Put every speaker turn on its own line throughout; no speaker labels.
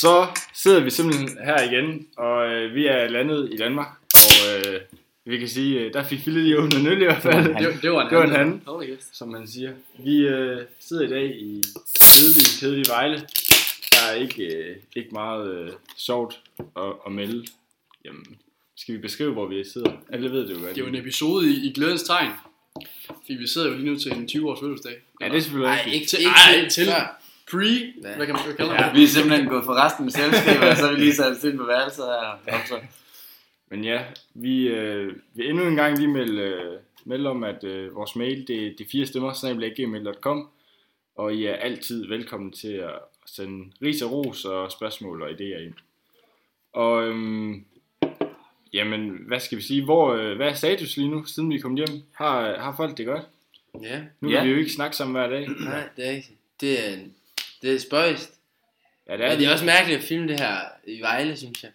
Så sidder vi simpelthen her igen, og øh, vi er landet i Danmark, og øh, vi kan sige, øh, der fik Fille lige åbnet en øl i hvert fald,
Det, var- det var en
Det var en
anden.
anden.
Holy yes.
som man siger. Vi øh, sidder i dag i kedelige, kedelige Vejle. Der er ikke, øh, ikke meget øh, sjovt at, at melde. Jamen, skal vi beskrive, hvor vi sidder? Alle ved det jo godt.
Det er jo en episode i, i glædens tegn. Fordi vi sidder jo lige nu til en 20-års fødselsdag.
Ja, det er selvfølgelig
Nej,
rigtigt.
ikke til,
til,
ikke
ej,
til,
ikke til. Pre,
Ja.
hvad kan man hvad kalder
Ja,
det?
vi er simpelthen gået for resten af selskabet, og så er vi lige sat os ind på værelset her.
Men ja, vi øh, vil endnu en gang lige melde, øh, melde om, at øh, vores mail det er de fire stemmer, snabelaggmail.com, og I er altid velkommen til at sende ris og ros og spørgsmål og idéer ind. Og øhm, jamen, hvad skal vi sige? Hvor, øh, hvad er status lige nu, siden vi kom hjem? Har, har folk det godt?
Ja,
Nu
Ja.
kan vi jo ikke snakke sammen hver dag.
nej, det er rigtigt. Det er, det er spøjst.
Ja, det
Ja,
er,
Men det
det
er også mærkeligt at filme det her i Vejle, synes jeg.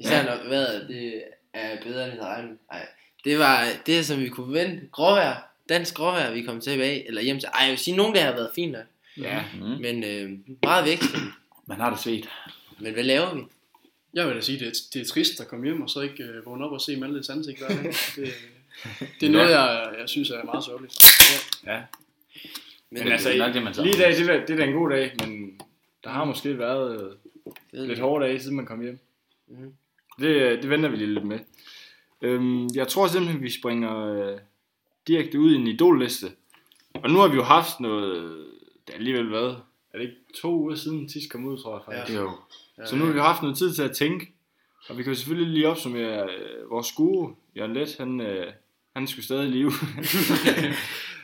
Især
Ja.
ja. når vejret det er bedre end det regnet. Nej, det var det, som vi kunne vente. Gråvejr. Dansk gråvejr, vi kom tilbage, eller hjem til. Ej, jeg vil sige, nogen der har været fint nok.
Ja,
Mm-hmm.
Mm.
Men øh, meget væk.
Man har det svedt.
Men hvad laver vi?
Jeg vil da sige, det er, det er trist at komme hjem og så ikke øh, vågne op og se Maltes ansigt hver dag. Det, det er noget, jeg, jeg synes er meget sørgeligt.
ja.
Men,
Men altså,
det er nok det, man så-
lige i dag, det, er- det er da en god dag, men der har måske været... Øh,
det ved
lidt
vi.
hårde dage, siden man kom hjem.
Mhm.
Det, det venter vi lige lidt med. Øhm, jeg tror simpelthen, vi springer øh, direkte ud i en idolliste. Og nu har vi jo haft noget... Det har alligevel været... Er det ikke to uger siden sidst kom ud, tror jeg faktisk?
Ja.
Jo. Så nu har vi haft noget tid til at tænke. Og vi kan jo selvfølgelig lige opsummere øh, vores gode Jørgen Let, han, øh, han skulle stadig i live.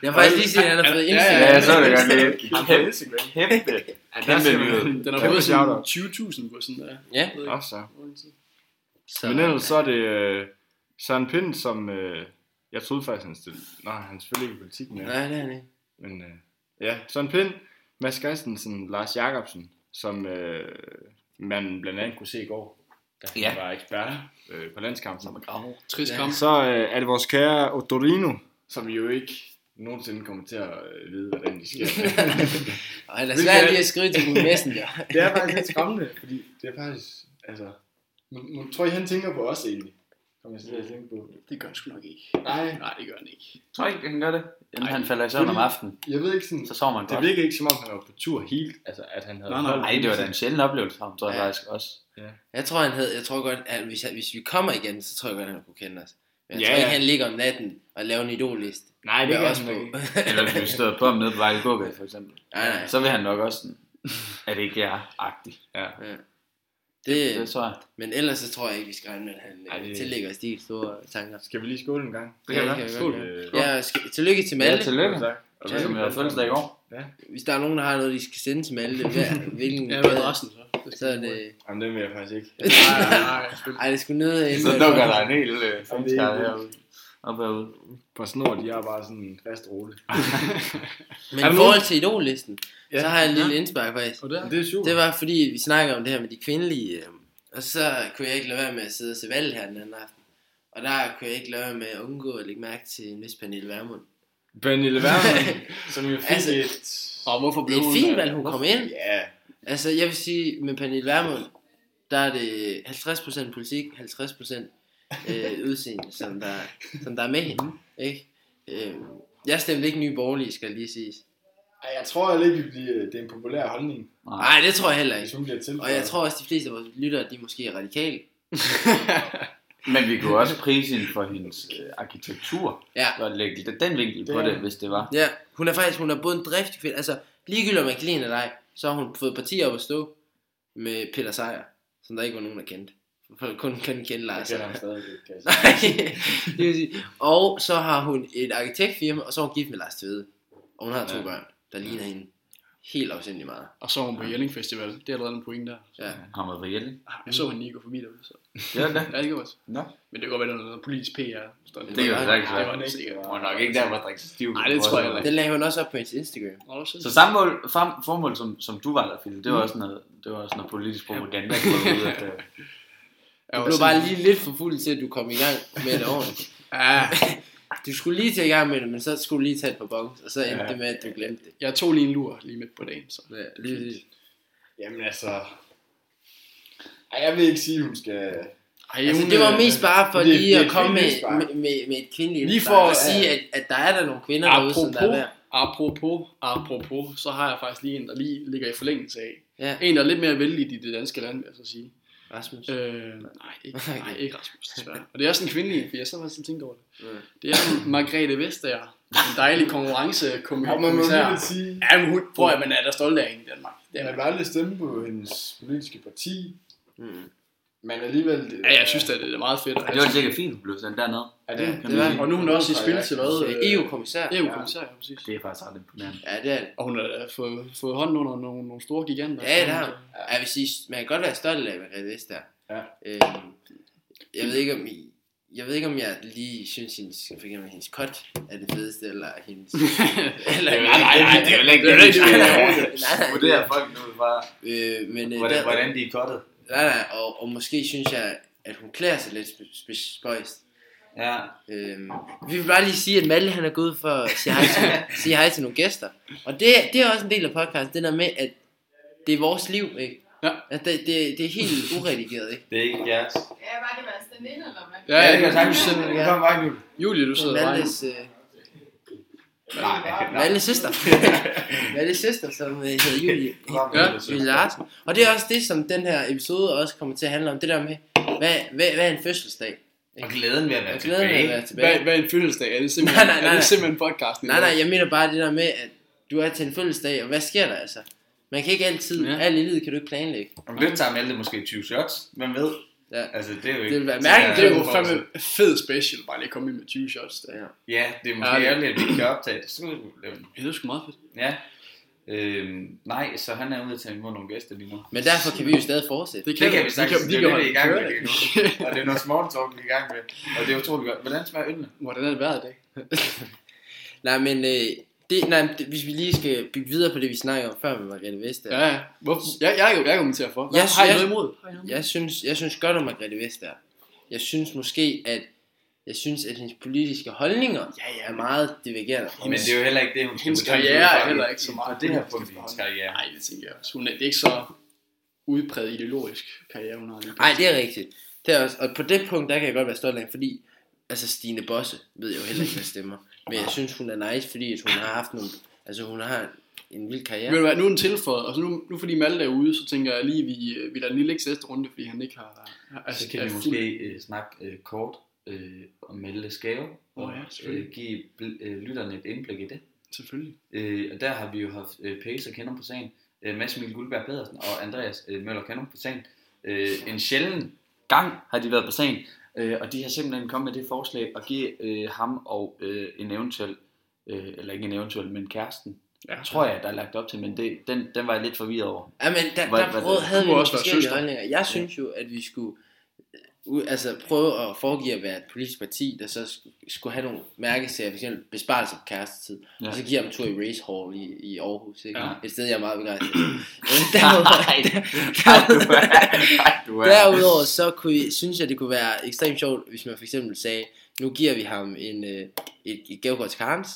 Jeg har faktisk lige set, at han har fået Instagram.
Ja, jeg så det godt. Det er kæmpe,
Instagram.
kæmpe, kæmpe nyhed.
Den har
Kæmpe
fået sådan
shout-out.
20.000 på sådan der.
Ja.
Nå, så.
Så,
Men ellers så er det øh, Søren Pind, som øh, jeg troede faktisk, han stillede. Nej, han er selvfølgelig ikke i politik mere.
Nej, nej, nej.
Men øh, ja, Søren Pind, Mads Christensen, Lars Jakobsen, som øh, man blandt andet kunne se i går, da han
Ja.
var ekspert øh, på landskampen.
Trist
Ja.
kamp.
Så øh, er det vores kære Odorino, som vi jo ikke nogensinde kommer til at øh, vide, hvordan de sker.
Og han er
Hvilket er-
svært lige at skrive til min messenger.
det er faktisk lidt skræmmende, fordi det er faktisk, altså, nu, nu tror jeg, han tænker på os egentlig. Kommer jeg til at tænke på.
Det gør han sgu nok ikke.
Nej,
Nej, det gør han ikke.
Tror ikke, han gør det? Inden
Ej,
han falder i søvn om
fordi-
aftenen,
jeg ved ikke sådan,
så sover man
Det
godt.
virker ikke som om, han var på tur helt, altså at han havde...
Nej, nej.
Nej, det var da en sjælden oplevelse for ham, tror jeg
Ja.
faktisk også.
Jeg tror, han havde, jeg tror godt, at hvis, hvis vi kommer igen, så tror jeg godt, han kunne kende os. Men jeg
Ja,
tror ikke,
ja.
han ligger om natten og laver en idolliste.
Nej, det
Med
gør
os
han
på.
ikke.
Eller hvis vi stod på ham nede på Vejle Gågade, for eksempel.
Nej, nej.
Så vil han nok også sådan, er det ikke jer-agtig. Det
Det,
tror jeg.
men ellers så tror jeg ikke, vi skal regne med, at han
Ej,
Ej,
det-
tillægger os de store tanker.
Skal vi lige skåle en gang?
Det kan
ja,
vi
vi
godt.
godt
Skål.
gøre.
Øh,
Ja, skal, tillykke
Ja,
til Malte.
tillykke.
Tak. Og
Som jeg har fødselsdag i går.
Hvis der er nogen, der har noget, de skal sende til Malte, hvad, hvilken
Ja, hvad er adressen så? Det
så
skal
er øh,
vi-
det...
Jamen, den vil jeg faktisk ikke.
Nej, nej, nej, selvfølgelig.
Ej, det skulle ned ind.
Så dukker der en hel øh,
fanskare
fanskare herude. Op herude.
På snor, de har bare sådan en fast rute.
Men
Er der
i forhold til idollisten,
Ja.
så har jeg en lille indspark faktisk.
Og der?
Men det er super.
Det var fordi, vi snakkede om det her med de kvindelige, øh, og så kunne jeg ikke lade være med at sidde og se valget her den anden aften. Og der kunne jeg ikke lade være med at undgå at lægge mærke til en vis Pernille Vermund.
Pernille Werner, som jo fik
Altså-
et...
Og hvorfor
Det
blev
er et
hun...
fint
øh,
valg, hun kom ind.
Ja,
Altså, jeg vil sige, med Pernille Vermund, der er det 50% politik, 50% øh, udseende, som der, som der er med hende. Ikke? Øh, jeg stemte ikke nye borgerlige, skal lige siges.
Ej, jeg tror heller ikke, det bliver- det er en populær holdning,
Nej, det tror jeg heller
hvis
ikke.
hun bliver tilføjet.
Og jeg tror også, de fleste af vores lyttere, de er måske radikale.
Men vi kunne også prise hende for hendes øh, arkitektur.
Ja.
Og lægge lidt den vinkel på
Det er-
det, hvis det var.
Ja, hun er faktisk, hun er både en driftig kvinde, altså ligegyldigt om man kan lide hende eller ej, så har hun fået partier op at stå med Peter Sejer, som der ikke var nogen, der kendte. For kun kan kende
Jeg
Lars.
kender
Seier.
ham stadig lidt, kan jeg sige.
Nej, det vil sige. Og så har hun et arkitektfirma, og så er hun gift med Lars Tvede. Og hun har to
Ja.
ja. børn, der ligner hende helt afsindelig meget.
Og så var hun på Jelling Festival. Det er allerede en point der.
Ja.
Ham og Rielle.
Ah, Jeg så
Mm.
hende lige gå forbi derude. Så.
Det var det.
Ja, det gjorde jeg også.
Nå.
Men det kan godt være, der er noget politisk PR. Det,
Det
Det kan vi sagtens
det
være.
var det sikkert.
Hun er nok ikke der, hvor drikke stiv.
Nej, det tror jeg heller
Den lagde hun også op på hendes Instagram.
Nå, så-
Så samme mål, frem, formål, som, som du var der, Philip, det var også noget, det var også noget politisk propaganda. der kom ud af det.
Du
Ja,
blev
så-
bare lige lidt for fuld til, at du kom i gang med det ordentligt.
Ja,
Du skulle lige til i gang med det, men så skulle du lige tage et par bongs, og så endte det med, at du glemte det.
jeg tog lige en lur lige midt på dagen. Så.
Ja, lige, lige.
Jamen altså... Ej, jeg vil ikke sige, hun skal...
Ej,
Altså,
hun,
det var
øh,
mest bare for
det- det
lige
er
at
et
komme med,
kvindeligt spark.
med, med, med et kvindeligt
Lige
lige
for
for og
at-
sige, at, at der er der nogle kvinder derude, som der er
Apropos,
værd.
apropos, apropos, så har jeg faktisk lige en, der lige ligger i forlængelse af.
Ja,
En, der er lidt mere vældig i det danske land, vil jeg så sige.
Rasmus.
Øh, nej, ikke, nej, ikke Rasmus, desværre. Og det er sådan en kvindelig, for jeg så faktisk tænkt over det.
Mm.
Det er en Margrethe Vestager, en dejlig
Og man må
konkurrencekommissær.
virkelig sige,
Ja, men hun, prøv at man er der stolt af hende i Danmark. Det
at
er man.
man aldrig stemme på hendes politiske parti,
Øh,
Mm.
men alligevel... Det,
Ja, jeg synes da, det er meget fedt.
Det var sikkert fint, hun blev sendt dernede.
er det,
det E var-
Og nu er hun også i spil til hvad?
Så EU-kommissær.
EU-kommissær, ja, præcis.
Det er faktisk ret imponerende.
Ja, det er det.
Og hun har da fået, fået hånden under nogle, nogle store giganter.
Ja, det har hun. Ja, Jeg vil sige, man kan godt være stolt af Margrethe Vestager.
Ja.
Øhm, jeg ved ikke, om I, jeg ved ikke, om jeg lige synes, hendes, for eksempel, hendes kot er det fedeste, eller hendes... eller,
Nej, nej, nej, det er jo heller ikke
Det er
det, vi
rigtigt,
skal
det er
vurdere folk nu fra,
Øh, men, øh,
hvordan,
der,
hvordan de er kottet.
Nej, nej, og, og måske synes jeg, at hun klæder sig lidt sp- sp- spøjst.
Ja.
Øhm, vi vil bare lige sige, at Malle han er gået for at sige hej til, sige hej til nogle gæster. Og det, det er også en del af podcasten, det der med, at det er vores liv, ikke?
Ja.
At det, det, det er helt uredigeret, ikke?
Det er ikke jeres.
Ja, var det været stand ind, eller hvad?
Ja,
Ja,
ja,
det kan jeg
ja.
sagtens sende. Det kommer bare nu.
Julie, du sidder bare.
Malles, øh,
Nej, nej.
Malles søster. Malles søster, som øh, hedder Julie.
Ja.
Julie Larsen. Og det er også det, som den her episode også kommer til at handle om. Det der med, hvad, hvad, hvad er en fødselsdag?
Og glæden ved at være
Jeg glæder mig
tilbage.
at være tilbage.
Hvad, hvad er en fødselsdag? Er det simpelthen,
Nej, nej, nej,
Er det
nej.
simpelthen podcasten?
Nej, nej, jeg mener bare det der med, at du er til en fødselsdag, og hvad sker der altså? Man kan ikke altid,
Ja.
ja. alt i livet kan du ikke planlægge.
Om lidt tager Malte måske 20 shots. Hvem ved?
Ja.
Altså, det er jo ikke...
Det ville være
så
mærkeligt,
Det er jo
for-
fandme fed special, bare lige at komme ind med 20 shots. Der.
Ja.
Ja, det er måske
Ja, det-
ærgerligt, at vi ikke kan optage det. Så kunne vi lave den.
Ja, det er sgu meget fedt.
Ja. Øhm, nej, så han er ude til at imod nogle gæster lige nu.
Men derfor kan vi jo stadig fortsætte.
Det kan vi sagtens. Det er det, vi er i gang med
køre
lige nu. Og det er noget small talk, vi er i gang med. Og det er utroligt godt. Hvordan smager ølene?
Hvordan er det været i dag?
Nej, men øh, det, nej, men det, hvis vi lige skal bygge videre på det, vi snakkede om før med Margrethe Vestager.
Ja, ja. Hvorfor? Jeg, jeg, jeg, jeg kommenterer for. Hvad,
Jeg-
har I
jeg-
noget imod?
Jeg synes, jeg synes godt om Margrethe Vestager. Jeg synes måske, at jeg synes, at hendes politiske holdninger
Ja, ja,
er meget divergerende.
Men det er jo heller ikke det, hun skal
Hendes
bedømmes
karriere
ud fra
er
i-
heller ikke så meget
På det her
politisk
punkt i hendes karriere.
Nej, det tænker jeg også. Hun er, det er ikke så udpræget ideologisk karriere, hun har lige.
Nej, det er rigtigt. Det er også, og på det punkt, der kan jeg godt være stolt af, hende, fordi altså Stine Bosse ved jeg jo heller ikke, hvad stemmer. Men jeg synes, hun er nice, fordi at hun har haft nogle, altså hun har en vild
Ja. Ved
karriere.
du hvad, nu er den tilføjet, og så nu, nu fordi Malte er ude, så tænker jeg lige, vi, øh, vi lader den lige ligge til næste runde, fordi han ikke har... har-
Så kan
er
vi
fuld-
måske øh, snakke øh, kort øh, om Meldes gave.
Åh,
Og
ja,
øh,
selvfølgelig.
give bl- øh, lytterne et indblik i det.
Selvfølgelig.
Øh, og der har vi jo haft øh, Pace og Kender på sagen, øh, Mads Emil Guldberg Pedersen og Andreas øh, Møller Kender på sagen. Øh, en sjælden gang har de været på sagen, øh, og de har simpelthen kommet med det forslag at give øh, ham og øh, en eventuel, øh, eller ikke en eventuel, men kæresten,
Ja,
tror jeg, der er lagt op til, men det, den, den var jeg lidt forvirret over.
Ja, men der,
Hvad-
der
hvad-
prøvede, havde
Du
vi
må
nogle
også være
forskellige
søster.
holdninger. Jeg synes jo, at vi skulle øh, ud- altså prøve at foregive at være et politisk parti, der så sk- skulle have nogle mærkesager, f.eks. besparelser på kærestetid,
Ja.
ja. og så giver dem tur i Race Hall i, i Aarhus, ikke?
Ja.
Ja. et sted, jeg er meget begejstret. for. Øh, derudover- derudover-
Ej, du
Derudover så kunne, I- synes jeg, det kunne være ekstremt sjovt, hvis man for eksempel sagde, nu giver vi ham en, øh, et, et gavekort til Karens,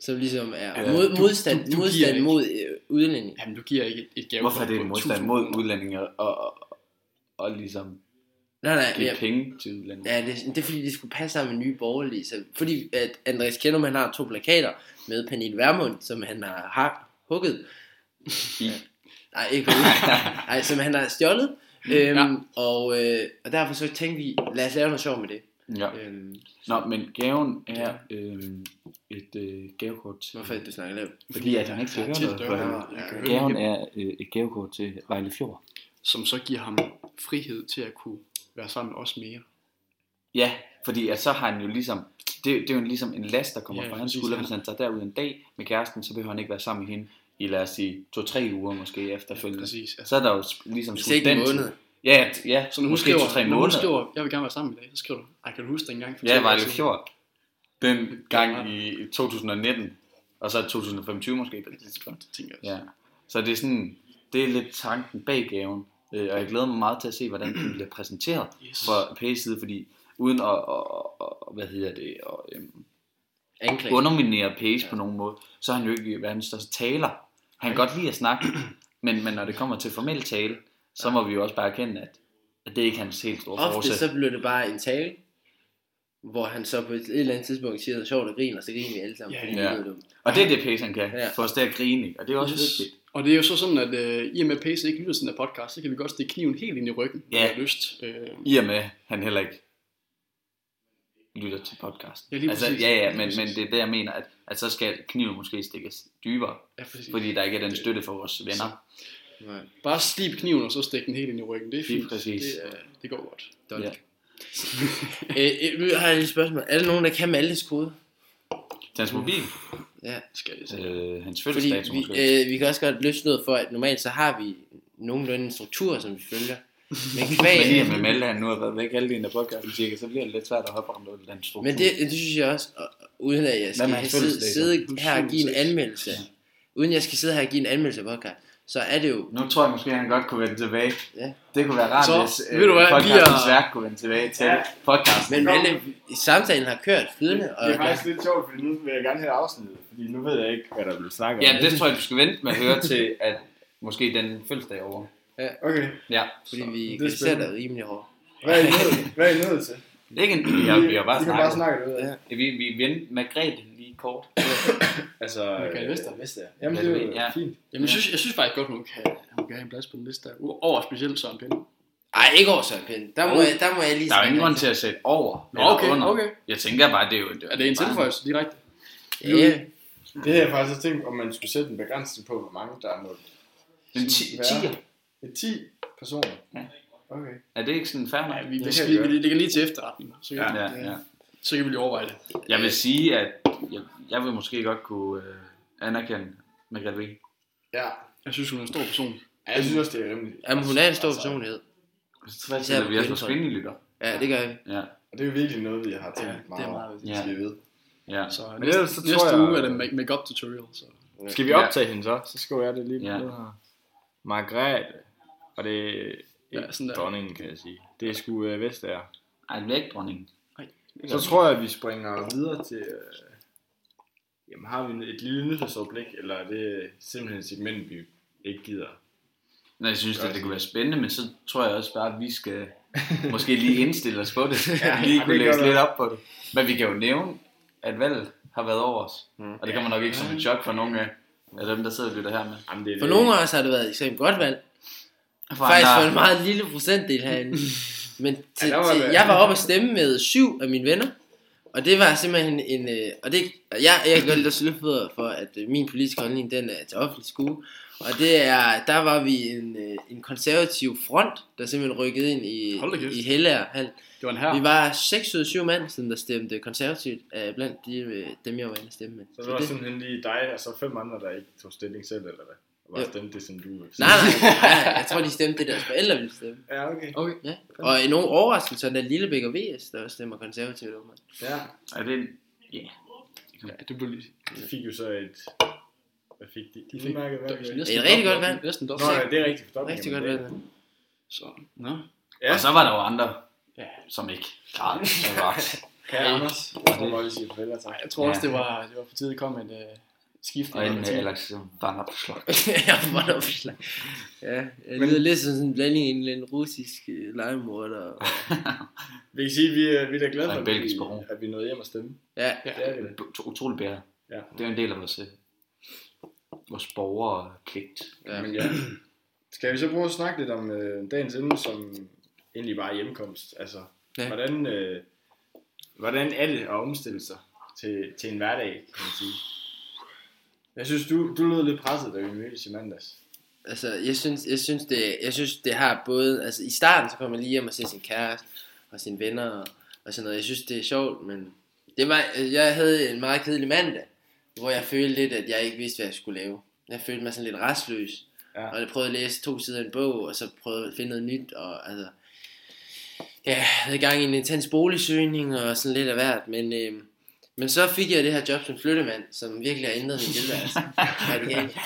som ligesom er
Øh,
mod,
du-
modstand,
du- du giver
modstand
ikke.
mod øh, udlænding.
Jamen, du giver ikke et, et gave.
Hvorfor er det en modstand mod udlændinge og, og, og ligesom
Nej, nej,
give
ja,
penge til udlændinge?
ja det, det, er fordi, det skulle passe sammen med nye borgerlige. Så, fordi at Andreas Kjellum, han har to plakater med Pernille Vermund, som han har, har hugget.
I.
Nej, ikke hugget. Nej, som han har stjålet. Øhm,
Ja.
ja. og, øh, og derfor så tænkte vi, lad os lave noget sjovt med det.
Ja.
Øhm,
Nå, men gaven er øh, et øh, gavekort til...
hvorfor er det, du snakker lavt?
Fordi at han ikke kan høre noget. for helvede. Gaven er øh, et gavekort til Vejle Fjord.
Som så giver ham frihed til at kunne være sammen med os mere.
Ja, fordi at så har han jo ligesom... Det, det er jo ligesom en last, der kommer
Ja,
ja, fra hans
præcis.
skulder. Hvis han tager derud en dag med kæresten, så behøver han ikke være sammen med hende i, lad os sige, to-tre uger måske efterfølgende. Ja,
Præcis. Altså,
så er der jo s- ligesom
Hvis ikke en
tid.
måned.
Ja, t- ja
så når hun
måske
skriver,
to-tre
når hun
måneder.
skriver, jeg vil gerne være sammen i dag, så skriver du, ej, kan du huske dengang? for
Ja,
to år
Vejle
siden?"
Fjord. Den gang i 2019. Og så 2025 måske på det tidspunkt.
Det tænker jeg også.
Ja. Så det er sådan, det er lidt tanken bag gaven. Øh, og jeg glæder mig meget til at se, hvordan den bliver præsenteret
Yes.
fra P's side, fordi uden at, og, og, og- hvad hedder det, og, øhm,
Anklage.
underminere Pace på nogen måde, så er han jo ikke verdens største taler. Han kan godt lide at snakke, men, men når det kommer til formel tale, så må vi jo også bare erkende, at Det er ikke hans helt store
Ofte
forsæt.
så blev det bare en tale, hvor han så på et, et eller andet tidspunkt siger noget sjovt og griner, og så griner vi alle sammen.
Ja,
fordi vi
ja.
lyder dumme.
Og det er det, Pacen kan.
Ja.
Ja. Få os til at grine, ikke? Og det er også yes. vigtigt.
Og det er jo så sådan, at øh, i og med at Pace ikke lytter til den her podcast, så kan vi godt stikke kniven helt ind i ryggen,
Ja.
når vi har lyst. Øh,
I og med, han heller ikke lytter til podcasten.
Ja, lige
altså,
præcis.
ja, ja,
Lige
men, men
præcis.
det er det, jeg mener, at, at så skal kniven måske stikkes dybere,
ja, præcis.
fordi der ikke er den støtte for vores venner.
Nej,
Bare slib kniven, og så stik den helt ind i ryggen. Det er
Lige
fint.
præcis.
Det, er, det går godt.
dårligt.
Ja.
Øh, øh, nu har jeg lige et spørgsmål. Er der nogen, der kan Maltes kode?
Hans mobil,
Det skal jeg sige.
øh, hans
Fordi
fødselsdato
vi,
måske.
øh, vi kan også godt løfte noget for, at normalt så har vi nogenlunde en struktur, som vi følger. Men, kvæg,
Men i og med Malte, han nu har været væk halvdelen af podcasten cirka, så bliver det lidt svært at hoppe rundt ud den struktur.
men det, det synes jeg også, og, og uden at jeg
Hvad med
skal
hans
sidde,
fødselsdato?
sidde her og give en
7.6.
anmeldelse, uden jeg skal sidde her og give en anmeldelse af podcast, så er det jo
Nu tror jeg måske, at han godt kunne vende tilbage.
Ja.
Det kunne være rart,
Så,
hvis øh,
ved du hvad, vi
podcastens
er-
værk kunne vende tilbage til podcasten.
Men Malte, samtalen har kørt flydende, og
Det er faktisk lidt sjovt, fordi nu vil jeg gerne have afsnittet, fordi nu ved jeg ikke, hvad der bliver snakket om.
Ja, det tror jeg, du skal vente med at høre til, at måske den fødselsdag er over.
Okay,
Ja.
fordi vi
er
kritiserer
spændende.
dig rimelig hårdt.
hvad er I nødt, hvad er I nødt til?
Det er ikke en, vi har, vi har bare
I kan bare
snakket.
snakke det ud af.
Ja.
Vi, vi vendte Margrethe lige kort.
Altså,
Michael
øh,
Vester.
Vester. Jamen, det er jo
Ja.
fint.
Jamen, jeg, synes, jeg synes faktisk godt, hun kan, hun kan have en plads på den liste der. U- Over specielt Søren Pind.
Ej, ikke over Søren Pind. Der må,
Jo.
jeg, der må jeg lige
Der er jo
snakke
ingen grund
om-
til at sætte over
Nå,
eller
okay,
under.
okay.
Jeg tænker bare, det er jo... Det
Er det en tilføjelse direkte?
Ja, ja.
Det havde jeg faktisk også tænkt, om man skulle sætte en begrænsning på, hvor mange der er måttet.
En ti- tiger.
Det er 10 personer.
Ja.
Okay.
Er det ikke sådan fair nok?
Ja, vi,
Det
det,
kan
vi,
jeg
vi ligger lige til efterretning. Så kan,
Ja, ja.
så kan vi lige overveje det.
Jeg vil sige, at jeg, jeg vil måske godt kunne øh, anerkende Margrethe
Ja.
Jeg synes, hun er en stor person.
Ja, Jeg synes også, det er rimeligt.
Jamen, hun er en stor
Altså,
personlighed.
Så sætter vi også vores kvindelige lytter.
Ja, det gør vi.
Ja.
Og det er jo virkelig noget, vi har
Ja,
tænkt
det er
meget over,
meget
det
vigtigt.
skal vi vide.
Ja.
Så
Men
næste,
ellers så
så
tror
næste
jeg-
uge er det make- make-up tutorial. Så.
Skal vi
Ja.
optage hende så? Så skriver jeg det lige
Ja.
på det her. Margrethe. Og det er ikke
Ja, sådan der.
dronningen, kan jeg sige. Det er sgu øh, Vestager.
Ej, den væk, dronning.
Så tror jeg, at vi springer videre til... Øh... Jamen, har vi et lille nyhedsoverblik, eller er det simpelthen et segment, vi ikke gider?
Nej, jeg synes, at det kunne være spændende, men så tror jeg også bare, at vi skal måske lige indstille os på det.
Ja,
Ja, lige
det
kunne
kan
læse
være.
lidt op på det. Men vi kan jo nævne, at valget har været over os.
Mm.
Og det kommer nok ikke som et chok for nogen af, af dem, der sidder og lytter her med.
Jamen, det er
For
det.
nogle af os har det været et ekstremt godt valg.
For
Faktisk
andre-
for en meget lille procentdel herinde. Men
Ja,
til,
der var
til,
det.
jeg var oppe og stemme med syv af mine venner. Og det var simpelthen en... Øh, og det, og jeg, jeg kan godt lide at slå fødder for, at øh, min politiske holdning den er til offentlig skue. Og det er, der var vi en, øh, en konservativ front, der simpelthen rykkede ind i,
Hold da kæft.
i Hellager. Han,
Det var en her.
Vi var 6 ud af 7 mand, siden der stemte konservativt, øh, blandt de, øh, dem jeg var inde og stemme med.
Så det var simpelthen lige dig, og så fem andre, der ikke tog stilling selv, eller hvad? Og bare
Jo.
stemte det, som du ville.
Nej, nej, nej, jeg tror, de stemte det, deres forældre ville stemme.
Ja, okay.
Okay.
Ja. Og i nogen overraskelse, der er Lillebæk og VS, der også stemmer konservativt. åbenbart.
Ja.
Er det en... Ja.
Ja, det blev lige...
De fik jo så et... Hvad fik de? De
fik-
fik mærket, hvad?
næsten
Nå,
Det er et
dobbelt-
rigtig godt valg.
Næsten dobbelt.
ja, det er rigtigt for
Rigtig godt
men
valg.
det-
Så, nå.
Ja.
Og så var der jo andre,
Ja.
som ikke klarede det. godt.
Kære Anders, jeg tror bare, vi siger farvel og tak.
Ej, jeg tror også,
Ja.
det var, det var på tide, det kom et øh, skift.
Og en med
i-
Alex var op slok.
ja, hvor er der opslag. Ja, jeg lyder lidt som sådan en blanding af en eller anden russisk øh, legemorder. og-
Vi kan sige, at vi, er- vi er da glade for,
Og en
at vi,
belgisk baron.
at vi nåede hjem og stemme.
Ja,
Ja.
Det er vi da.
Utrolig bedre.
Ja.
Det er jo en del af vores, øh, vores borgerpligt.
ja.
Men ja. Skal vi så prøve at snakke lidt om øh, dagens emne, som egentlig bare er hjemkomst? Altså,
Ja.
ja. hvordan, øh, hvordan er det at omstille sig til, til en hverdag, kan man sige? Jeg synes, du, du lød lidt presset, da vi mødtes i mandags.
Altså, jeg synes, jeg synes, det, jeg synes, det har både... Altså, i starten, så kommer man lige hjem og ser sin kæreste og sine venner og, og sådan noget. Jeg synes, det er sjovt, men... Det var, øh, jeg havde en meget kedelig mandag, hvor jeg følte lidt, at jeg ikke vidste, hvad jeg skulle lave. Jeg følte mig sådan lidt restløs.
Ja.
Ja. Og jeg prøvede at læse to sider af en bog, og så prøvede at finde noget nyt, og altså... Ja, jeg havde gang i en intens boligsøgning og sådan lidt af hvert, men... Øh, men så fik jeg det her job som flyttemand, som virkelig har ændret min tilværelse. radikalt.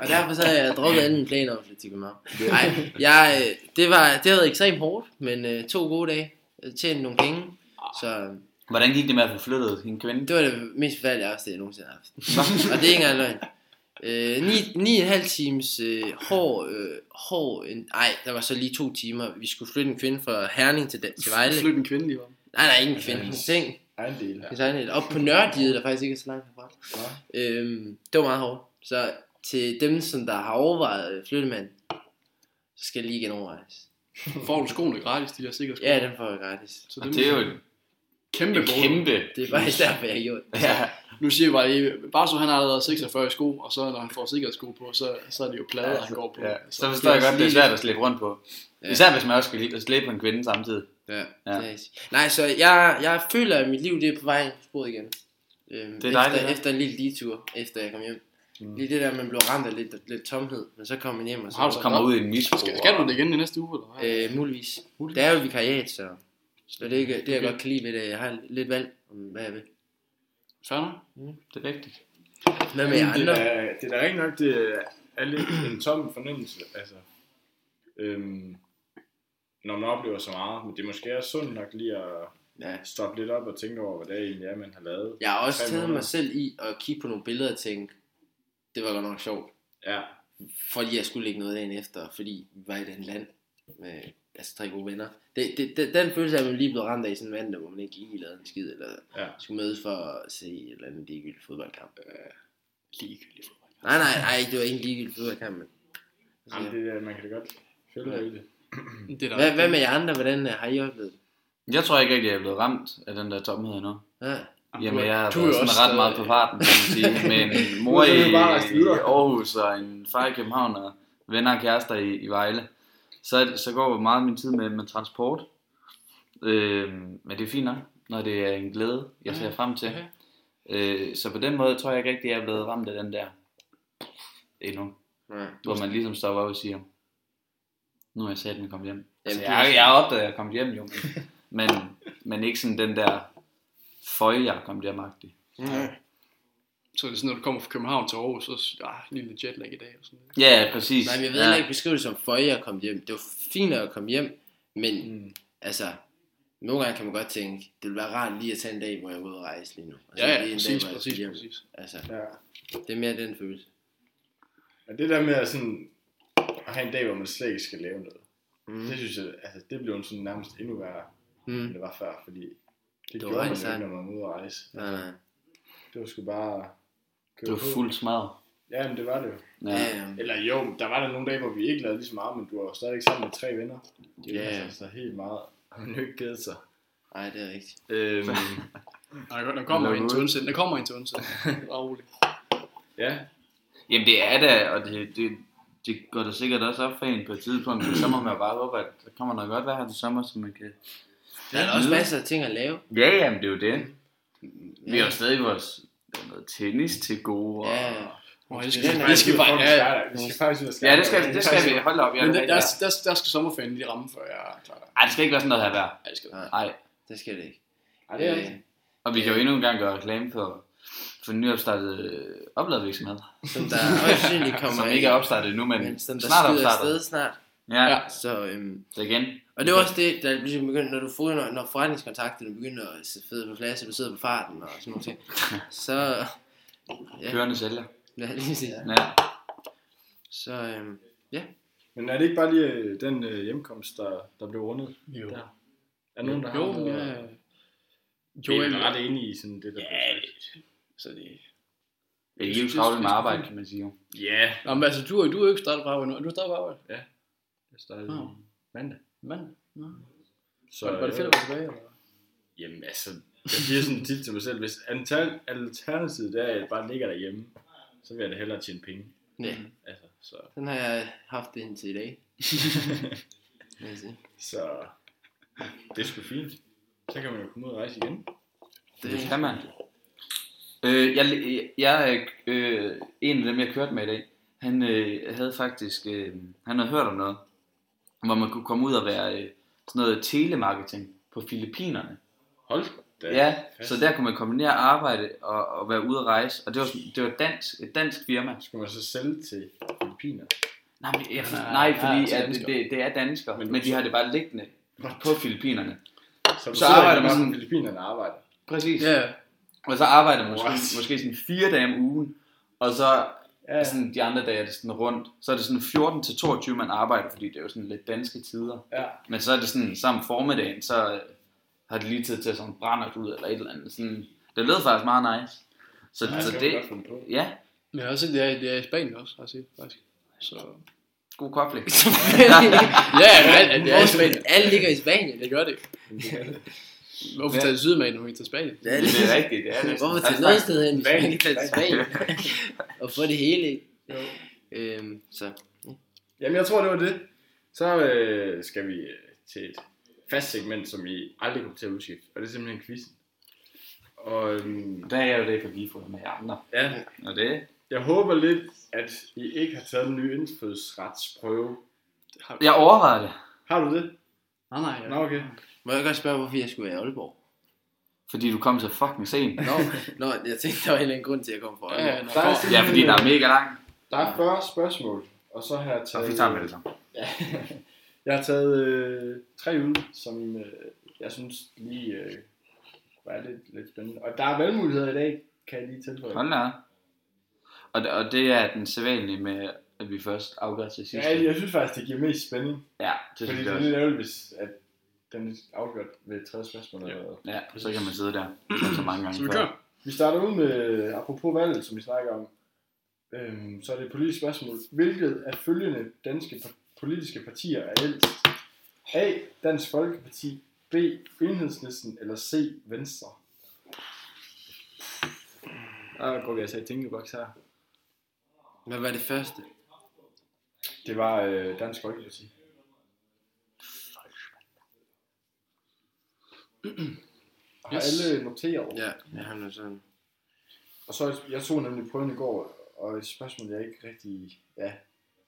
Og derfor så har jeg droppet alle mine planer om at flytte til København. Nej, jeg, øh, det, var, det har været ekstremt hårdt, men øh, to gode dage. Jeg Tjente nogle penge. Så øh,
Hvordan gik det med at få flyttet hende kvinde?
det var det mest forfærdelige afsted, jeg nogensinde har haft. Og det er ikke engang løgn. Øh, 9, 9,5 times øh, hård, øh, hård en, ej, der var så lige to timer. Vi skulle flytte en kvinde fra Herning til, Dan- til Vejle.
Flyt en kvinde lige om.
Nej, nej, ikke en kvinde. En seng.
Egen del.
Ja. Designet. Op på Nørdiet, der faktisk ikke er så langt herfra. Ja. Øhm, det var meget hårdt. Så til dem, som der har overvejet øh, flyttemand, så skal det lige genovervejes.
Får du skoene gratis, de der sikkert
Ja, den får jeg gratis.
Så
Og det er jo en,
kæmpe
en
bonus.
kæmpe...
Det er faktisk derfor, jeg har gjort det.
Ja.
Nu siger jeg bare lige, bare så han har allerede 46 sko, og så når han får sikkerhedssko på, så, så er det jo plader,
Ja,
han går på.
Ja,
Så,
så forstår jeg godt, det er svært at slæbe rundt på.
Ja.
Især hvis man også skal lide at slæbe på en kvinde samtidig.
Ja.
Ja.
ja. Nej, så jeg, jeg føler, at mit liv det er på vej på sporet igen. Øhm, det
dejligt,
efter,
ja.
efter en lille detur, efter jeg kom hjem. Mm. Lige det der, man blev ramt af lidt, lidt tomhed, men så kom man hjem og så...
Har
Så kommer ud i en misbrug.
skal, skal du det igen i næste uge, eller hvad?
Øh, muligvis. Det er jo et vikariat, så... Så det er ikke, det jeg
Okay.
godt kan lide ved det. Jeg har lidt valg om, hvad jeg vil.
Færdig?
Det er vigtigt.
Hvad med jer
Det
andre?
er, det er da rigtig nok, det er lidt en tom fornemmelse, altså. Øhm, når man oplever så meget, men det er måske også sundt nok lige at
Ja.
stoppe lidt op og tænke over, hvad det egentlig er, man har lavet.
Jeg har også
Tre
taget mig
måneder.
selv i at kigge på nogle billeder og tænke, det var godt nok sjovt.
Ja,
Fordi jeg skulle lægge noget dagen efter, fordi vi var i den land med altså tre gode venner. Det, det, det, den følelse af, at man lige blevet ramt af i sådan en mandag, hvor man ikke lige lavede en skid, eller
Ja.
skulle mødes for at se et eller andet ligegyldigt fodboldkamp.
Ligegyldigt.
Nej, nej, nej, det var ikke en ligegyldig fodboldkamp, men...
Jamen, det, er- man kan da godt følge
Ja.
ja. det.
Det er der.
Hvad, hvad med jer andre? Hvordan øh, har I oplevet det?
Jeg tror ikke rigtig, jeg er blevet ramt af den der tomhed endnu.
Ja.
Jamen,
Jamen,
du-
jeg har
du er
været
jo
sådan
også
ret meget på
stadig-
farten, kan man sige. Med en mor
Nu er det
i,
bare at rejse
i
videre.
Aarhus og en far i København og venner og kærester i, i Vejle. Så, så går meget af min tid med, med transport. Øh, men det er fint nok, når det er en glæde, jeg
Mhm.
ser frem til. Øh, så på den måde tror jeg ikke rigtig, jeg er blevet ramt af den der endnu.
Nej.
Hvor man ligesom stopper op og siger, nu er jeg sat med kommet hjem. Altså,
det
jeg,
er
jeg,
sådan.
jeg har opdaget, at jeg er kommet hjem jo, men, men, men ikke sådan den der føje, jeg er kommet hjem agtig.
Nej.
Så er det sådan, når du kommer fra København til Aarhus, så ah, en lille jetlag i dag. Og sådan. noget.
Ja, ja, præcis.
Nej, men jeg ved
ja.
heller ikke beskrive det som føje at komme hjem. Det var fint at komme hjem, men mm. altså, nogle gange kan man godt tænke, det ville være rart lige at tage en dag, hvor jeg er ude at rejse lige nu. Og så
Ja,
lige
ja,
en
præcis,
hvor jeg skal
præcis,
hjem.
præcis.
Altså,
Ja.
det er mere den følelse.
Og det der med at, sådan, at have en dag, hvor man slet ikke skal lave noget,
Mm.
det synes jeg, altså, det blev sådan nærmest endnu værre, end
Mm.
det var før, fordi det,
Det
det
var
gjorde man jo
rejse.
ikke, når man var ude at rejse.
Nej, nej.
Det var sgu bare...
Du er fuld smadret.
Ja, men det var det jo.
Ja.
Ja,
Eller jo, der var der nogle dage, hvor vi ikke lavede lige så meget, men du var jo stadigvæk sammen med tre venner. Det
Ja.
yeah. altså, så helt meget. Har man jo ikke givet sig.
nej, det er rigtigt.
Øhm,
Nej, godt, der kommer
Lad
en til
ud.
undsætning. Der kommer en til undsætning. Bare rolig.
ja,
Jamen det er det, og det, det, det går da sikkert også op for en på et tidspunkt, men så må man bare håbe, at der kommer noget godt vejr her til sommer, som man kan...
Der er da også masser af ting at lave.
Ja, jamen det er jo det. Vi har
Ja.
jo stadig vores der er noget tennis til gode. Og...
Ja, ja.
Åh, jeg skal,
Det er
jeg skal bare... Ja, ja.
vi skal faktisk ud og
ja, det skal, det skal vi holde op. Ja,
Men der,
det,
der, der, der skal sommerferien lige ramme, før jeg er klar.
Ej, det skal ikke være sådan noget her vejr.
Ja, det skal
Nej,
Nej.
det skal det ikke.
Ej, det er
Øh,
rigtigt.
Og vi kan jo endnu en gang gøre reklame for, for den nyopstartede øh, opladevirksomhed,
som der højst sandsynligt kommer
som ikke er opstartet endnu, men,
men som der
snart
skyder
opstartet.
afsted snart.
Ja,
Ja.
ja.
Så øhm,
Så igen.
Og det var også det, der ligesom begyndte, når du får, når, når forretningskontakterne begynder at sidde fede på plads, og du sidder på farten og sådan noget ting, så, Ja.
Kørende sælger.
ja, lige præcis.
Ja.
så øhm,
Men er det ikke bare lige øh, den øh, hjemkomst, der, der blev rundet?
Jo.
Der. Er der nogen, der
Jo,
har noget?
ja.
Jo, jeg
Joel-
er ret enig i sådan det, der blev
Ja,
sagt.
Så det...
Det er jo travlt med arbejde, kan man sige. jo.
Ja,
Nå, men altså, du, er- du er jo ikke startet på arbejde nu. Er du startet på arbejde?
det startede
Nå.
mandag.
Mand. Nå.
Så,
Var, var det
øh,
fedt at være tilbage? Eller?
Jamen altså, jeg siger sådan tit til mig selv, hvis alter- alternativet der er, at jeg bare ligger derhjemme, så vil jeg da hellere tjene penge.
ja,
Altså, så,
den har jeg haft det indtil i dag. Vil jeg sige.
så det er sgu fint. Så kan man jo komme ud og rejse igen.
Det kan man. Øh, jeg, jeg er øh, en af dem, jeg kørte med i dag. Han øh, havde faktisk, øh, han havde hørt om noget, hvor man kunne komme ud og være øh, sådan noget telemarketing på Filippinerne.
Hold da.
Ja, så der kunne man kombinere arbejde og, og være ude at rejse. Og det var, sådan- det var dansk, et dansk firma.
Skal man så sælge til Filippiner?
Nej, men, jeg,
Nej,
nej, nej,
nej,
fordi
til
nej, at det,
danskere.
det er danskere,
Men-
men, men de har det bare liggende på Filippinerne.
Så, du
Så
sidder ikke
arbejder
bare
man-
som Filippinerne arbejder.
Præcis.
Ja,
Og så arbejder man
What?
måske, måske sådan fire dage om ugen, og så
Ja,
Og sådan de andre dage er det sådan rundt. Så er det sådan 14 til 22, man arbejder, fordi det er jo sådan lidt danske tider.
ja.
Men så er det sådan, sammen formiddagen, så øh, har de lige tid til at sådan brænder ud eller et eller andet. Sådan, det lød faktisk meget nice. Så,
Ja,
så
Altså, kan man godt
det,
finde på.
ja,
Men jeg har også set, det er, det er i Spanien også, har jeg set, faktisk. Så...
god kobling.
Ja, det er, altså- det er i Spanien.
Spanien. Alle ligger i Spanien.
Det gør det. Hvorfor
Ja.
tager det Sydamerika, når vi tager Spanien?
Det er
Men det er rigtigt, det er det.
Hvorfor
Altså,
tage noget sted hen, hvis
Spanien.
man ikke tager til Spanien? og få det hele ikke? Øhm, så.
Jamen, jeg tror, det var det. Så øh, skal vi øh, til et fast segment, som I aldrig kommer til at udskifte, og det er simpelthen quizzen. Og øhm,
Der er jeg jo det for lige fået med jer andre.
ja,
Og det,
jeg håber lidt, at I ikke har taget den nye indfødsretsprøve.
Det har vi.
jeg overvejer det,
Har du det?
Nej, nej. Ja.
Nå, okay.
Må jeg godt spørge, hvorfor jeg skulle være i Aalborg?
fordi du kom så fucking sent.
Nå, nå, jeg tænkte, der var en eller anden grund til, at jeg kom fra
Ja,
Aalborg.
ja, nå,
Der er
for-
simpelthen-
Ja, fordi der er mega langt.
Der er 40 spørgsmål, og så har jeg
Så
taget...
vi tager med det sammen.
Jeg har taget øh, tre ud, som øh, jeg synes lige øh, var lidt, lidt spændende. Og der er valgmuligheder i dag, kan jeg lige tilføje.
Hold da. op. Og, det- og det er den sædvanlige med, at vi først afgør til sidst.
Ja, jeg synes faktisk, det giver mest spænding.
ja det
Fordi
synes
det
jeg
er
også.
lidt ærgerligt, hvis at den er afgjort ved tredje spørgsmål. Eller hvad.
Ja, så kan man sidde der som så mange gange
Så vi
før.
kører.
Vi starter ud med, apropos valget, som vi snakker om, øhm, så er det et politisk spørgsmål. Hvilket af følgende danske pa- politiske partier er ældst? A. Dansk Folkeparti, B. Enhedslisten eller C. Venstre?
Ah,
Der går vi altså i tænkeboks her.
Hvad var det første?
Det var øh, Dansk Folkeparti. Har
Yes.
alle noteret over?
Ja, jeg har noget sådan.
Og så, jeg tog nemlig prøven i går, og et spørgsmål, jeg ikke rigtig... Ja,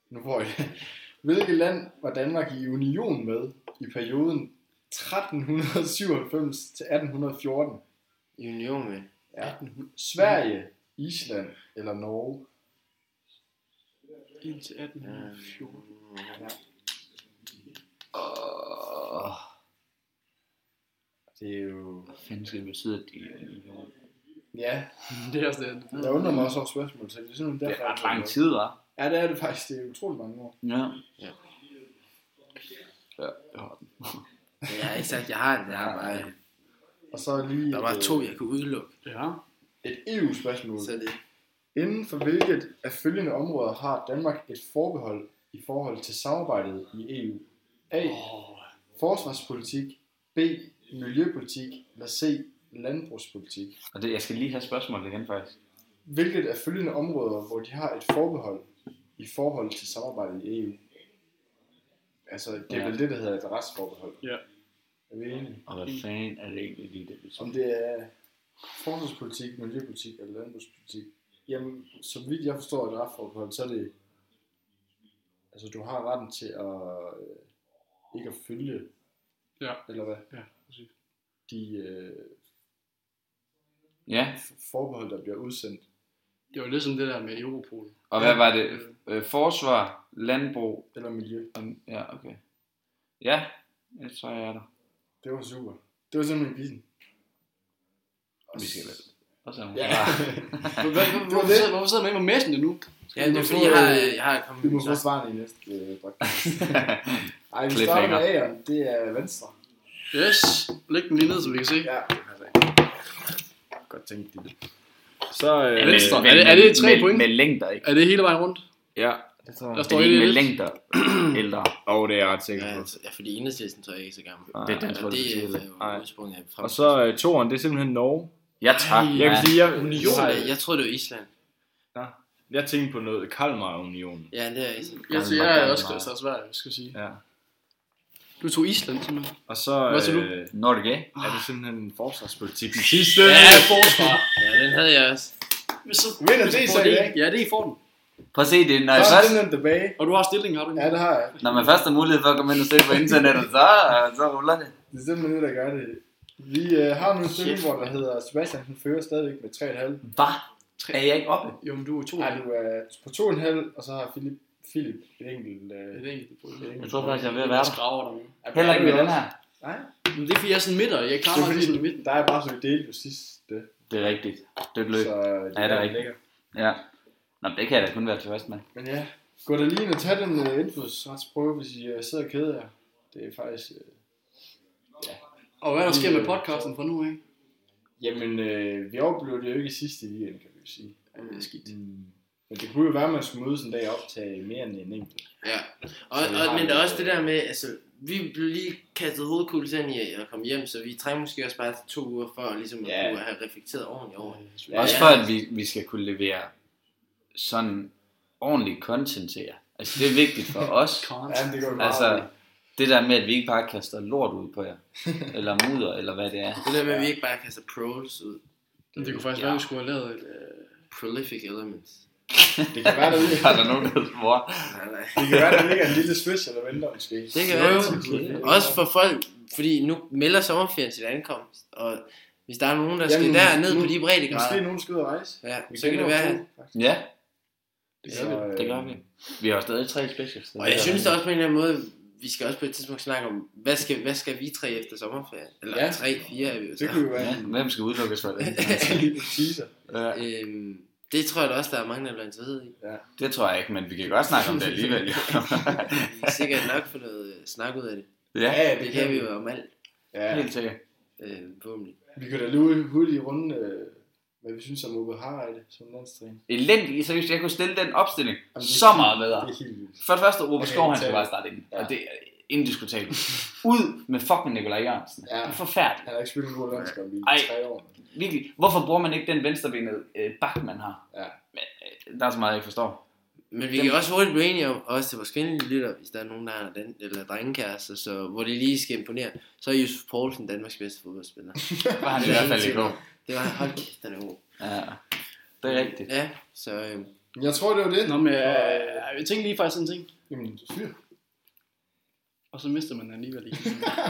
nu får jeg det. Hvilket land var Danmark i union med i perioden 1397 til 1814?
Union med.
Ja. Sverige, Island eller Norge?
Indtil 1814.
Åh,
Det er jo...
hvad fanden skal det betyde, at de
Ja,
Det er også det.
jeg undrer mig også over spørgsmålet, så det er sådan
Det
derfor...
er ret lang tid, hva'?
Ja, det er det faktisk. Det er utroligt mange år.
Ja.
Ja.
Ja, jeg har den.
Jeg har ikke sagt, jeg har det. Jeg har bare,
Og så lige...
der var
øh,
to, jeg kunne udelukke.
Ja.
Et E EU-spørgsmål.
Så det,
Inden for hvilket af følgende områder har Danmark et forbehold i forhold til samarbejdet i EU? A.
Åh,
Forsvarspolitik. B. Miljøpolitik. Eller C. Landbrugspolitik.
Og det, jeg skal lige have spørgsmålet igen, faktisk.
Hvilket af følgende områder, hvor de har et forbehold i forhold til samarbejdet
E
i EU? Altså, det er
Ja.
vel det, der hedder et retsforbehold.
Ja.
Er vi enige?
Og hvad fanden er det egentlig lige, det betyder?
Om det er forsvarspolitik, miljøpolitik eller landbrugspolitik? Jamen, så vidt jeg forstår et retsforbehold, så er det... Altså, du har retten til at... Øh, ikke at følge...
Ja.
Eller hvad?
ja, præcis.
De øh,
Ja,
forbehold, der bliver udsendt.
Det var lidt som det der med Europol.
og hvad var det? Øh, Forsvar, landbrug,
Eller miljø.
Og- Ja, okay. Ja, jeg tror, jeg er der.
Det var super. Det var simpelthen quizzen.
Vi skal vel- Og så
Ja.
Hvor- hvor- hvor- Hvorfor sidder- hvorfor sidder man med messen nu?
ja,
Vi
det
må
er fordi,
få,
jeg har,
øh,
jeg har kommet
Vi må få
så.
svarene i næste øh, podcast. Ej, vi starter
Cliffhanger.
med A'eren. Det er venstre.
Yes. Læg den lige ned, så vi kan se.
Ja, det passer ikke. Godt tænkt, det. Så øh,
Venstre. Er det- er det tre
med,
point?
Med længder, ikke?
Er det hele vejen rundt?
Ja,
Det tror jeg.
Der
Er
står
det ikke
et-
med længder ældre?
og det er jeg ret sikker
Ja,
på. Ah.
altså, ja, fordi enhedslisten tror jeg ikke er så gammel.
Nej, det er Dansk
og det
Folkeparti
er
heller ikke. Nej.
jo udsprung af frem.
Og så øh, toeren, det er simpelthen Norge.
Ja, tak.
Jeg
ja.
kan sige, jeg,
Union,
jeg,
jeg troede, det var Island.
jeg tænkte på noget Kalmar-unionen.
Ja, det er Island.
Jeg, siger, jeg er også gået til Sverige, skal jeg sige.
Ja.
Du tog Island, simpelthen.
Og så
Hvad siger du?
øh,
Norge.
er det simpelthen forsvarspolitik. Den sidste!
Ja, forsvar.
Ja, den havde jeg også.
Hvis så-
Vinder
hvis
det
får
så i dag?
Ja, det er i får den.
Prøv at se det, når,
Så
jeg
er
først,
den den tilbage.
Og du har stillingen, har du ikke?
Ja, det har jeg.
når man først har mulighed for at komme ind og se på internettet, så, så ruller det.
Det er simpelthen det, der gør det. Vi øh, har nu en stilling, hvor der hedder Sebastian, han fører stadigvæk med 3,5.
Hvad? Er jeg ikke oppe?
Jo, men du er to.
Nej, du er
øh,
på 2,5, og så har Philip, Philip en enkelt...
Det
Øh,
er
et
det egentlig.
enkelt
Jeg tror faktisk, jeg er ved at være
Jeg
der.
skraver dig.
Heller ikke med den her.
Nej,
Men det er fordi, jeg er sådan midter. Jeg
det
klarer
er
mig sådan i midten.
fordi, der er bare så vi delte jo sidst det.
Det er rigtigt. Det er et løb.
Så øh,
Ja, det er rigtigt. Ja. Nå, men det kan jeg da kun være tilfreds med.
Men ja, gå da lige ind og tag den uh, indfødsretsprøve, hvis I uh, sidder og keder jer. Det er faktisk... Uh,
Og hvad der sker med
Øh,
Mm.
podcasten fra nu af?
jamen, uh, vi overblevede det jo ikke i sidste weekend, kan vi jo sige. Det er skidt. Men det kunne jo være, at man skulle mødes en dag og optage mere end en enkelt.
Ja, og,
Så vi har
og, men
en-
der er også det der med, altså, vi blev lige kastet hovedkugles ind i at komme hjem, så vi trænger måske også bare til to uger for ligesom at
Ja.
kunne have reflekteret ordentligt over det.
Ja,
Også
ja.
for, at vi, vi skal kunne levere sådan ordentlig content til jer. Altså, det er vigtigt for os.
Ja, men det går jo meget.
Altså, det der med, at vi ikke bare kaster lort ud på jer. Eller mudder, eller hvad det er.
Det der med, at vi ikke bare kaster pros ud.
Men det kunne faktisk ja. være, at vi skulle have lavet et... Øh,
Prolific elements.
det kan være, der ikke
Har der nogen, der svor?
Nej, nej.
Det kan være, der ligger en lille special, der venter måske.
Det kan være. Okay. Også for folk, fordi nu melder sommerferien sin ankomst, og hvis der er nogen, der skal
Jamen,
derned
nu-
på de breddegrader,
Måske nogen skal ud og rejse.
ja,
Vi
så kan det
kender
være,
to, faktisk.
Ja,
Det
gør vi.
øh,
det gør vi. Vi har jo stadig tre specials.
Og jeg synes da også på en eller anden måde, vi skal også på et tidspunkt snakke om, hvad skal, hvad skal vi tre efter sommerferien? Eller
Ja.
ja. tre, fire er vi jo
Det
så.
kunne jo være
Ja,
en
hvem skal udelukkes for det?
lille teaser.
Ja,
Øhm, det tror jeg da også, der er mange, der bliver interesseret i.
det tror jeg ikke, men vi kan godt snakke om det alligevel. jo.
Vi kan sikkert nok få noget øh, snak ud af det.
ja,
ja,
Det kan vi jo om alt,
Ja,
helt sikkert.
øh, forhåbentlig.
vi kan da lige hurtigt runde, øh, hvad vi synes om Uwe Harald som landstræner.
Elendig, seriøst, jeg kunne stille den opstilling
Jamen, det er
så meget bedre.
Det er helt vildt.
For det første, Robert
Okay,
Skov, han
tag
skal
det.
bare starte ind.
Ja.
Og det er indiskutabelt. Ud med fucking Nikolaj Jørgensen.
Ja.
Det er forfærdeligt.
Han har ikke spillet en god landskamp i
Ej.
tre år.
Virkelig. Hvorfor bruger man ikke den venstrebenede øh, bak, man har?
Ja.
Men, øh, der er så meget, jeg ikke forstår.
Men vi kan også hurtigt blive enige om, også til vores kvindelige lytter, hvis der er nogen, der har den, eller drengekærester, så, hvor det lige skal imponere, så er Josef Poulsen Danmarks bedste fodboldspiller.
Det var han i hvert fald ikke god.
Det var hold kæft, den er god.
Ja. Det er rigtigt.
Ja, så øh,
Men jeg tror, det var det.
Nå, men øh, jeg tænkte lige faktisk sådan en ting,
Jamen, fyr.
og så mister man den alligevel ikke.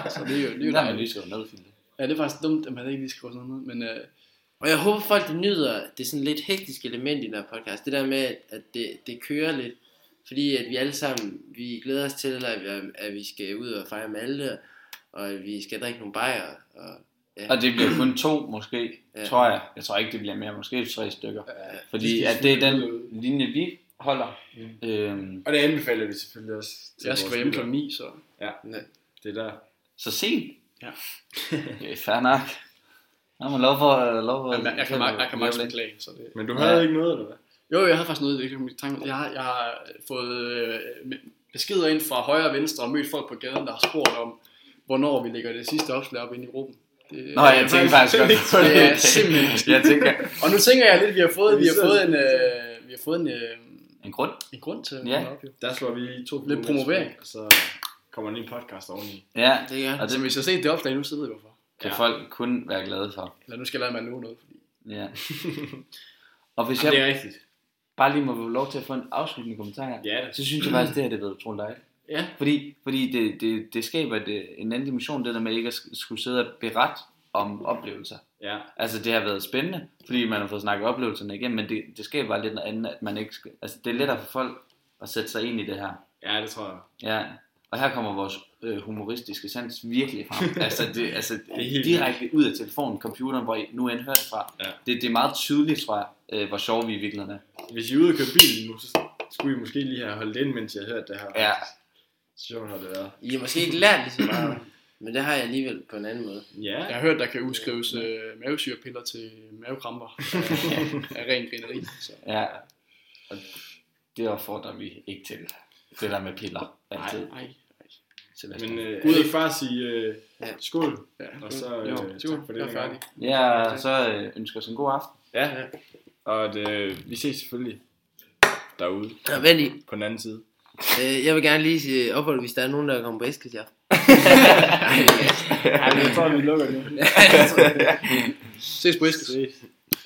så det er jo, det er jo
Det er man
dejligt.
lige skrevet ned, Fille.
Ja, det er faktisk dumt, at man ikke lige skriver sådan noget, men øh,
Og jeg håber folk der nyder det sådan lidt hektiske element i den her podcast. Det der med, at det, det kører lidt. Fordi at vi alle sammen, vi glæder os til, at vi, at vi skal ud og fejre Malte, og at vi skal drikke nogle bajer. Og,
Og det bliver kun to, måske,
Ja.
tror jeg. Jeg tror ikke, det bliver mere. Måske tre stykker.
Ja,
Fordi
de skal
at det
smide
er den
ud.
linje, vi holder.
Mm.
Øhm,
Og det anbefaler vi selvfølgelig også. til
jeg skal
vores
være hjemme
lyttere.
klokken 9, så
Det er der.
så sent.
Ja.
ja fair nok. Nå, men lov for... øh, Lov for
Jamen, jeg, jeg, kan, mag- jeg kan max beklage, så det...
Men du
havde
havde ikke noget, eller hvad?
Jo, jeg havde faktisk noget, jeg ikke tanke jeg, har, jeg har fået øh, beskeder ind fra højre og venstre og mødt folk på gaden, der har spurgt om, hvornår vi lægger det sidste opslag op ind i gruppen. Det,
Nå, jeg tænker faktisk godt.
Det er simpelthen
Jeg tænker,
Og nu tænker jeg lidt, at vi har fået,
Vi
vi har
sidder-
fået en, øh, vi har fået en, øh,
en grund.
en grund til at
Ja.
holde op, jo.
Der slår vi to
Lidt
fluer
promovering.
med et smæk, Og så kommer der lige en podcast oveni.
Ja,
det gør
og
Altså,
det
hvis jeg har set det opslag nu, så ved jeg hvorfor.
kan
Ja.
folk kun være glade for.
Eller nu skal jeg lade mig love noget. Fordi...
Ja. Og hvis jeg
er rigtigt.
bare lige må få lov til at få en afsluttende kommentar her,
Ja, det.
så synes jeg faktisk, det her det har været utroligt dejligt.
Ja.
Fordi, fordi det, det, det skaber det, en anden dimension, det der med ikke at sk- skulle sidde og berette om oplevelser.
Ja.
Altså det har været spændende, fordi man har fået snakket oplevelserne igen, men det, det skaber bare lidt noget andet, at man ikke skal, altså det er lettere for folk at sætte sig ind i det her.
ja, det tror jeg.
Ja, og her kommer vores øh, humoristiske sans virkelig frem. altså, det, altså
er helt
direkte ud af telefonen, computeren, hvor I nu end hørt fra.
Ja.
Det, det er meget tydeligt, tror jeg, øh, hvor sjove vi i virkeligheden er.
Hvis I er ude og køre bil nu, så skulle I måske lige have holdt ind, mens jeg hørte det her.
Ja.
Så sjovt har det været.
I har måske ikke lært lige så meget, men det har jeg alligevel på en anden måde.
Ja.
Jeg har hørt, der kan udskrives øh, mavesyrepiller til mavekramper af, af ren grineri. Så.
Ja. Og det opfordrer vi ikke til. Det der med piller. Altid.
Ej,
Sebastian.
Men øh,
Gud.
Gud ikke bare sige øh,
Ja.
skål,
ja.
og så
Jo,
øh,
jo,
tak for
jeg
det.
er færdig.
Ja, så øh, ønsker os en god aften.
Ja, og at, øh, vi ses selvfølgelig derude
Nå, vent lige.
på den anden side.
Øh, jeg vil gerne lige sige ophold, hvis der er nogen, der kommer på æsket, ja.
Ja, jeg tror, vi lukker nu.
Ses på Eskes.
Ses.